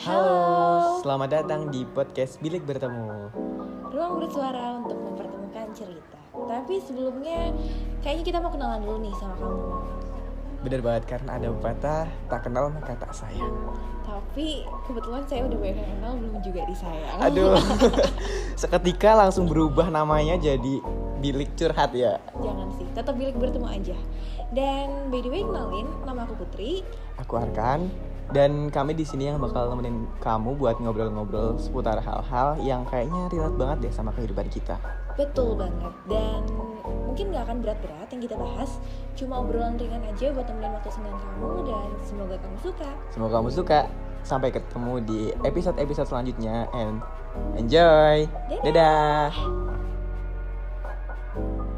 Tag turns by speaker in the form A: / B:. A: Halo,
B: Selamat datang di podcast Bilik Bertemu.
A: ruang bersuara untuk mempertemukan cerita. Tapi sebelumnya, kayaknya kita mau kenalan dulu nih sama kamu.
B: Bener banget karena ada pepatah tak kenal maka tak sayang.
A: Tapi kebetulan saya udah banyak yang kenal, belum juga disayang.
B: Aduh, seketika langsung berubah namanya jadi Bilik Curhat ya.
A: Jangan sih, tetap bilik bertemu aja. Dan by the way, kenalin, nama aku Putri.
B: Aku Arkan dan kami di sini yang bakal nemenin kamu buat ngobrol-ngobrol seputar hal-hal yang kayaknya relate banget deh sama kehidupan kita.
A: Betul banget. Dan mungkin nggak akan berat-berat yang kita bahas. Cuma obrolan ringan aja buat temenin waktu senggang kamu dan semoga kamu suka.
B: Semoga kamu suka. Sampai ketemu di episode-episode selanjutnya and enjoy.
A: Dadah.
B: Dadah.